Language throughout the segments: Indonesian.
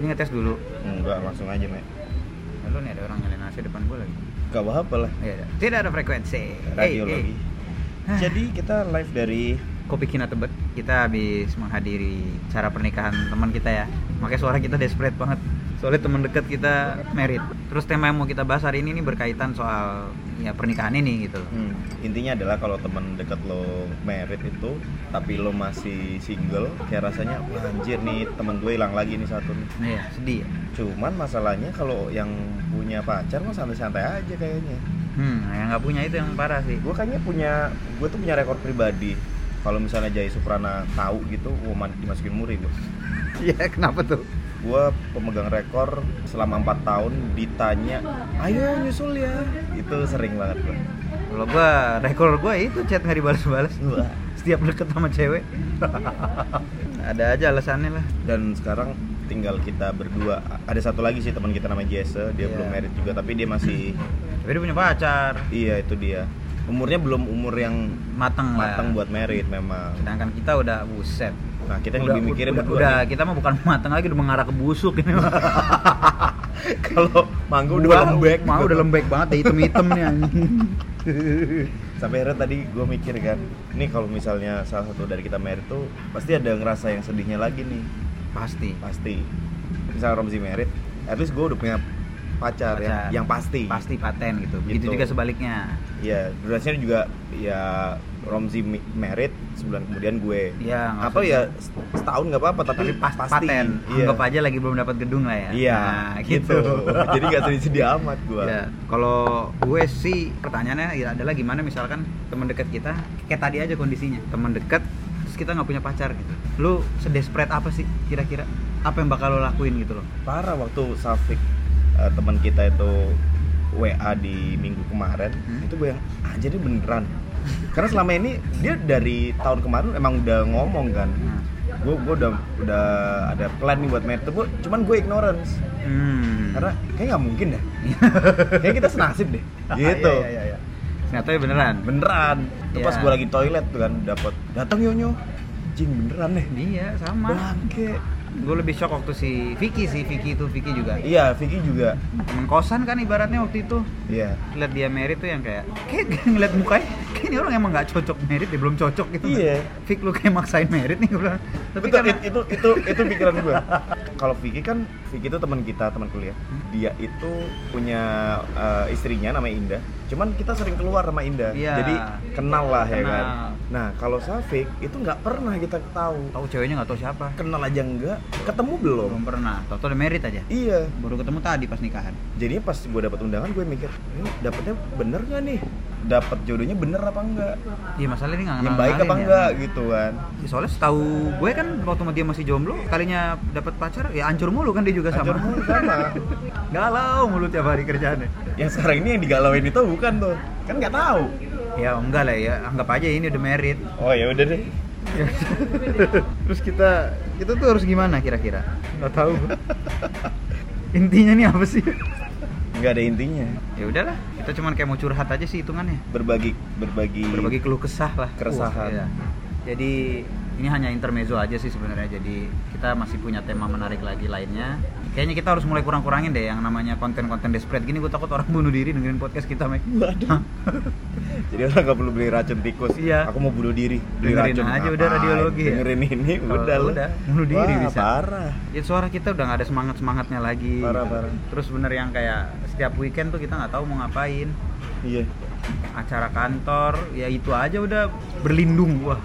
Ini ngetes dulu. Enggak, langsung aja, Mek. Lalu nih ada orang nyalain AC depan gue lagi. Gak apa-apa lah. Iya, ada. tidak ada frekuensi. Radio Hey, hey. lagi. Jadi kita live dari Kopi Kina Tebet, kita habis menghadiri cara pernikahan teman kita ya. Makanya suara kita desperate banget. Soalnya teman dekat kita merit. Terus tema yang mau kita bahas hari ini nih berkaitan soal ya pernikahan ini gitu. loh. Hmm, intinya adalah kalau teman dekat lo merit itu tapi lo masih single kayak rasanya "Wah, anjir nih temen gue hilang lagi nih satu nih Nah, Iya, sedih ya. cuman masalahnya kalau yang punya pacar mah santai-santai aja kayaknya Hmm, yang nggak punya itu yang parah sih. gue kayaknya punya gue tuh punya rekor pribadi kalau misalnya Jai Suprana tahu gitu woman dimasukin muri gue Iya, kenapa tuh? gue pemegang rekor selama empat tahun ditanya ayo nyusul ya itu sering banget gue Kalau gua rekor gua itu chat nggak dibalas-balas. Wah. Setiap deket sama cewek. ada aja alasannya lah. dan sekarang tinggal kita berdua ada satu lagi sih teman kita namanya Jesse Iya. dia Hmm. belum married juga tapi dia masih Tapi dia punya pacar. iya itu dia umurnya belum umur yang Mateng lah. matang buat married memang Sedangkan kita udah buset. nah kita yang lebih mikirin udah, berdua udah, nih. kita mah bukan matang lagi udah mengarah ke busuk ini mah. kalau mangga udah Gua lembek gitu. mah udah lembek banget udah hitam-hitam nih anjing. sampai akhirnya tadi gue mikir kan ini kalau misalnya salah satu dari kita married tuh pasti ada ngerasa yang sedihnya lagi nih Pasti. pasti misalnya Romzi married at least gue udah punya pacar, Pacar. ya yang pasti Pasti paten gitu. Begitu Gitu. juga sebaliknya. Iya, durasinya juga ya Romzi mi- merit sebulan kemudian gue. Iya, nggak Apa usah. ya se- setahun nggak apa-apa tapi, Tapi pas pasti. paten. Iya. Anggap aja lagi belum dapat gedung lah ya. Iya, Nah, gitu. Jadi nggak sedih-sedih amat gue. Ya, kalau gue sih pertanyaannya ya adalah gimana misalkan teman dekat kita kayak tadi aja kondisinya teman dekat terus kita nggak punya pacar gitu. Lu sedespret apa sih kira-kira? Apa yang bakal lo lakuin gitu loh? Parah waktu Safik eh, teman kita itu WA di minggu kemarin Hmm. itu gue yang ah jadi beneran. Karena selama ini dia dari tahun kemarin emang udah ngomong kan. Nah. Gue gue udah udah ada plan nih buat merit, Gua- cuman gue ignorance. Hmm. Karena kayak nggak mungkin deh. kayak kita senasib deh. Gitu. Iya, iya, iya. Ternyata ya beneran. beneran itu pas Iya. gue lagi toilet tuh kan dapat datang yonyo jing beneran nih Iya, sama. bangke Gue lebih shock waktu si Vicky sih, Vicky itu Vicky juga. iya Vicky juga Temen kosan kan ibaratnya waktu itu iya lihat dia merit tuh yang kayak kayak ngeliat mukanya kayak ini orang emang nggak cocok merit ya belum cocok gitu Iya. Fik lu kayak maksain merit nih gue bilang tapi Betul, karena it- itu itu itu pikiran gue kalau Vicky kan Vicky itu teman kita teman kuliah dia itu punya eh, istrinya namanya Indah cuman kita sering keluar sama Indah Iya. jadi kenal lah ya Kenal. kan nah kalau Safik itu nggak pernah kita tahu tahu ceweknya nggak tahu siapa kenal aja nggak ketemu belum belum pernah tau udah merit aja iya baru ketemu tadi pas nikahan jadinya pas gue dapat undangan gue mikir ini dapetnya bener nggak nih dapat jodohnya bener apa enggak iya masalah ini nggak yang kenal baik apa kenalin enggak ya. gitu kan Ya, soalnya setahu gue kan waktu dia masih jomblo kalinya dapat pacar ya ancur mulu kan dia juga sama Hancur mulu sama galau mulu tiap hari kerjaannya yang sekarang ini yang digalauin itu bukan tuh kan nggak tahu ya enggak lah ya anggap aja ini udah merit oh ya udah deh terus kita kita tuh harus gimana kira-kira nggak tahu gua. intinya nih apa sih nggak ada intinya ya udahlah kita cuman kayak mau curhat aja sih hitungannya berbagi berbagi berbagi keluh kesah lah Keresahan. Wah, iya. jadi ini hanya intermezzo aja sih sebenarnya jadi kita masih punya tema menarik lagi lainnya kayaknya kita harus mulai kurang-kurangin deh yang namanya konten-konten desperate gini gue takut orang bunuh diri dengerin podcast kita Mike Waduh. jadi orang nggak perlu beli racun tikus Iya. aku mau bunuh diri beli Dengerin racun aja udah Apaan? radiologi ya? dengerin ini Kalau udah lu. udah, bunuh diri Wah, bisa. parah ya suara kita udah nggak ada semangat semangatnya lagi Parah, parah. terus bener yang kayak setiap weekend tuh kita nggak tahu mau ngapain iya acara kantor ya itu aja udah berlindung wah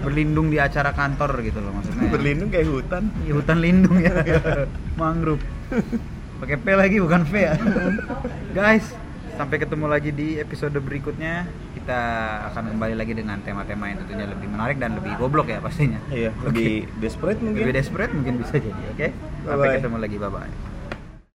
berlindung di acara kantor gitu loh maksudnya berlindung kayak hutan Iya, hutan lindung ya mangrove pakai P lagi bukan V ya guys sampai ketemu lagi di episode berikutnya kita akan kembali lagi dengan tema-tema yang tentunya lebih menarik dan lebih goblok ya pastinya iya lebih desperate mungkin lebih desperate mungkin bisa jadi oke sampai Bye-bye. ketemu lagi bye bye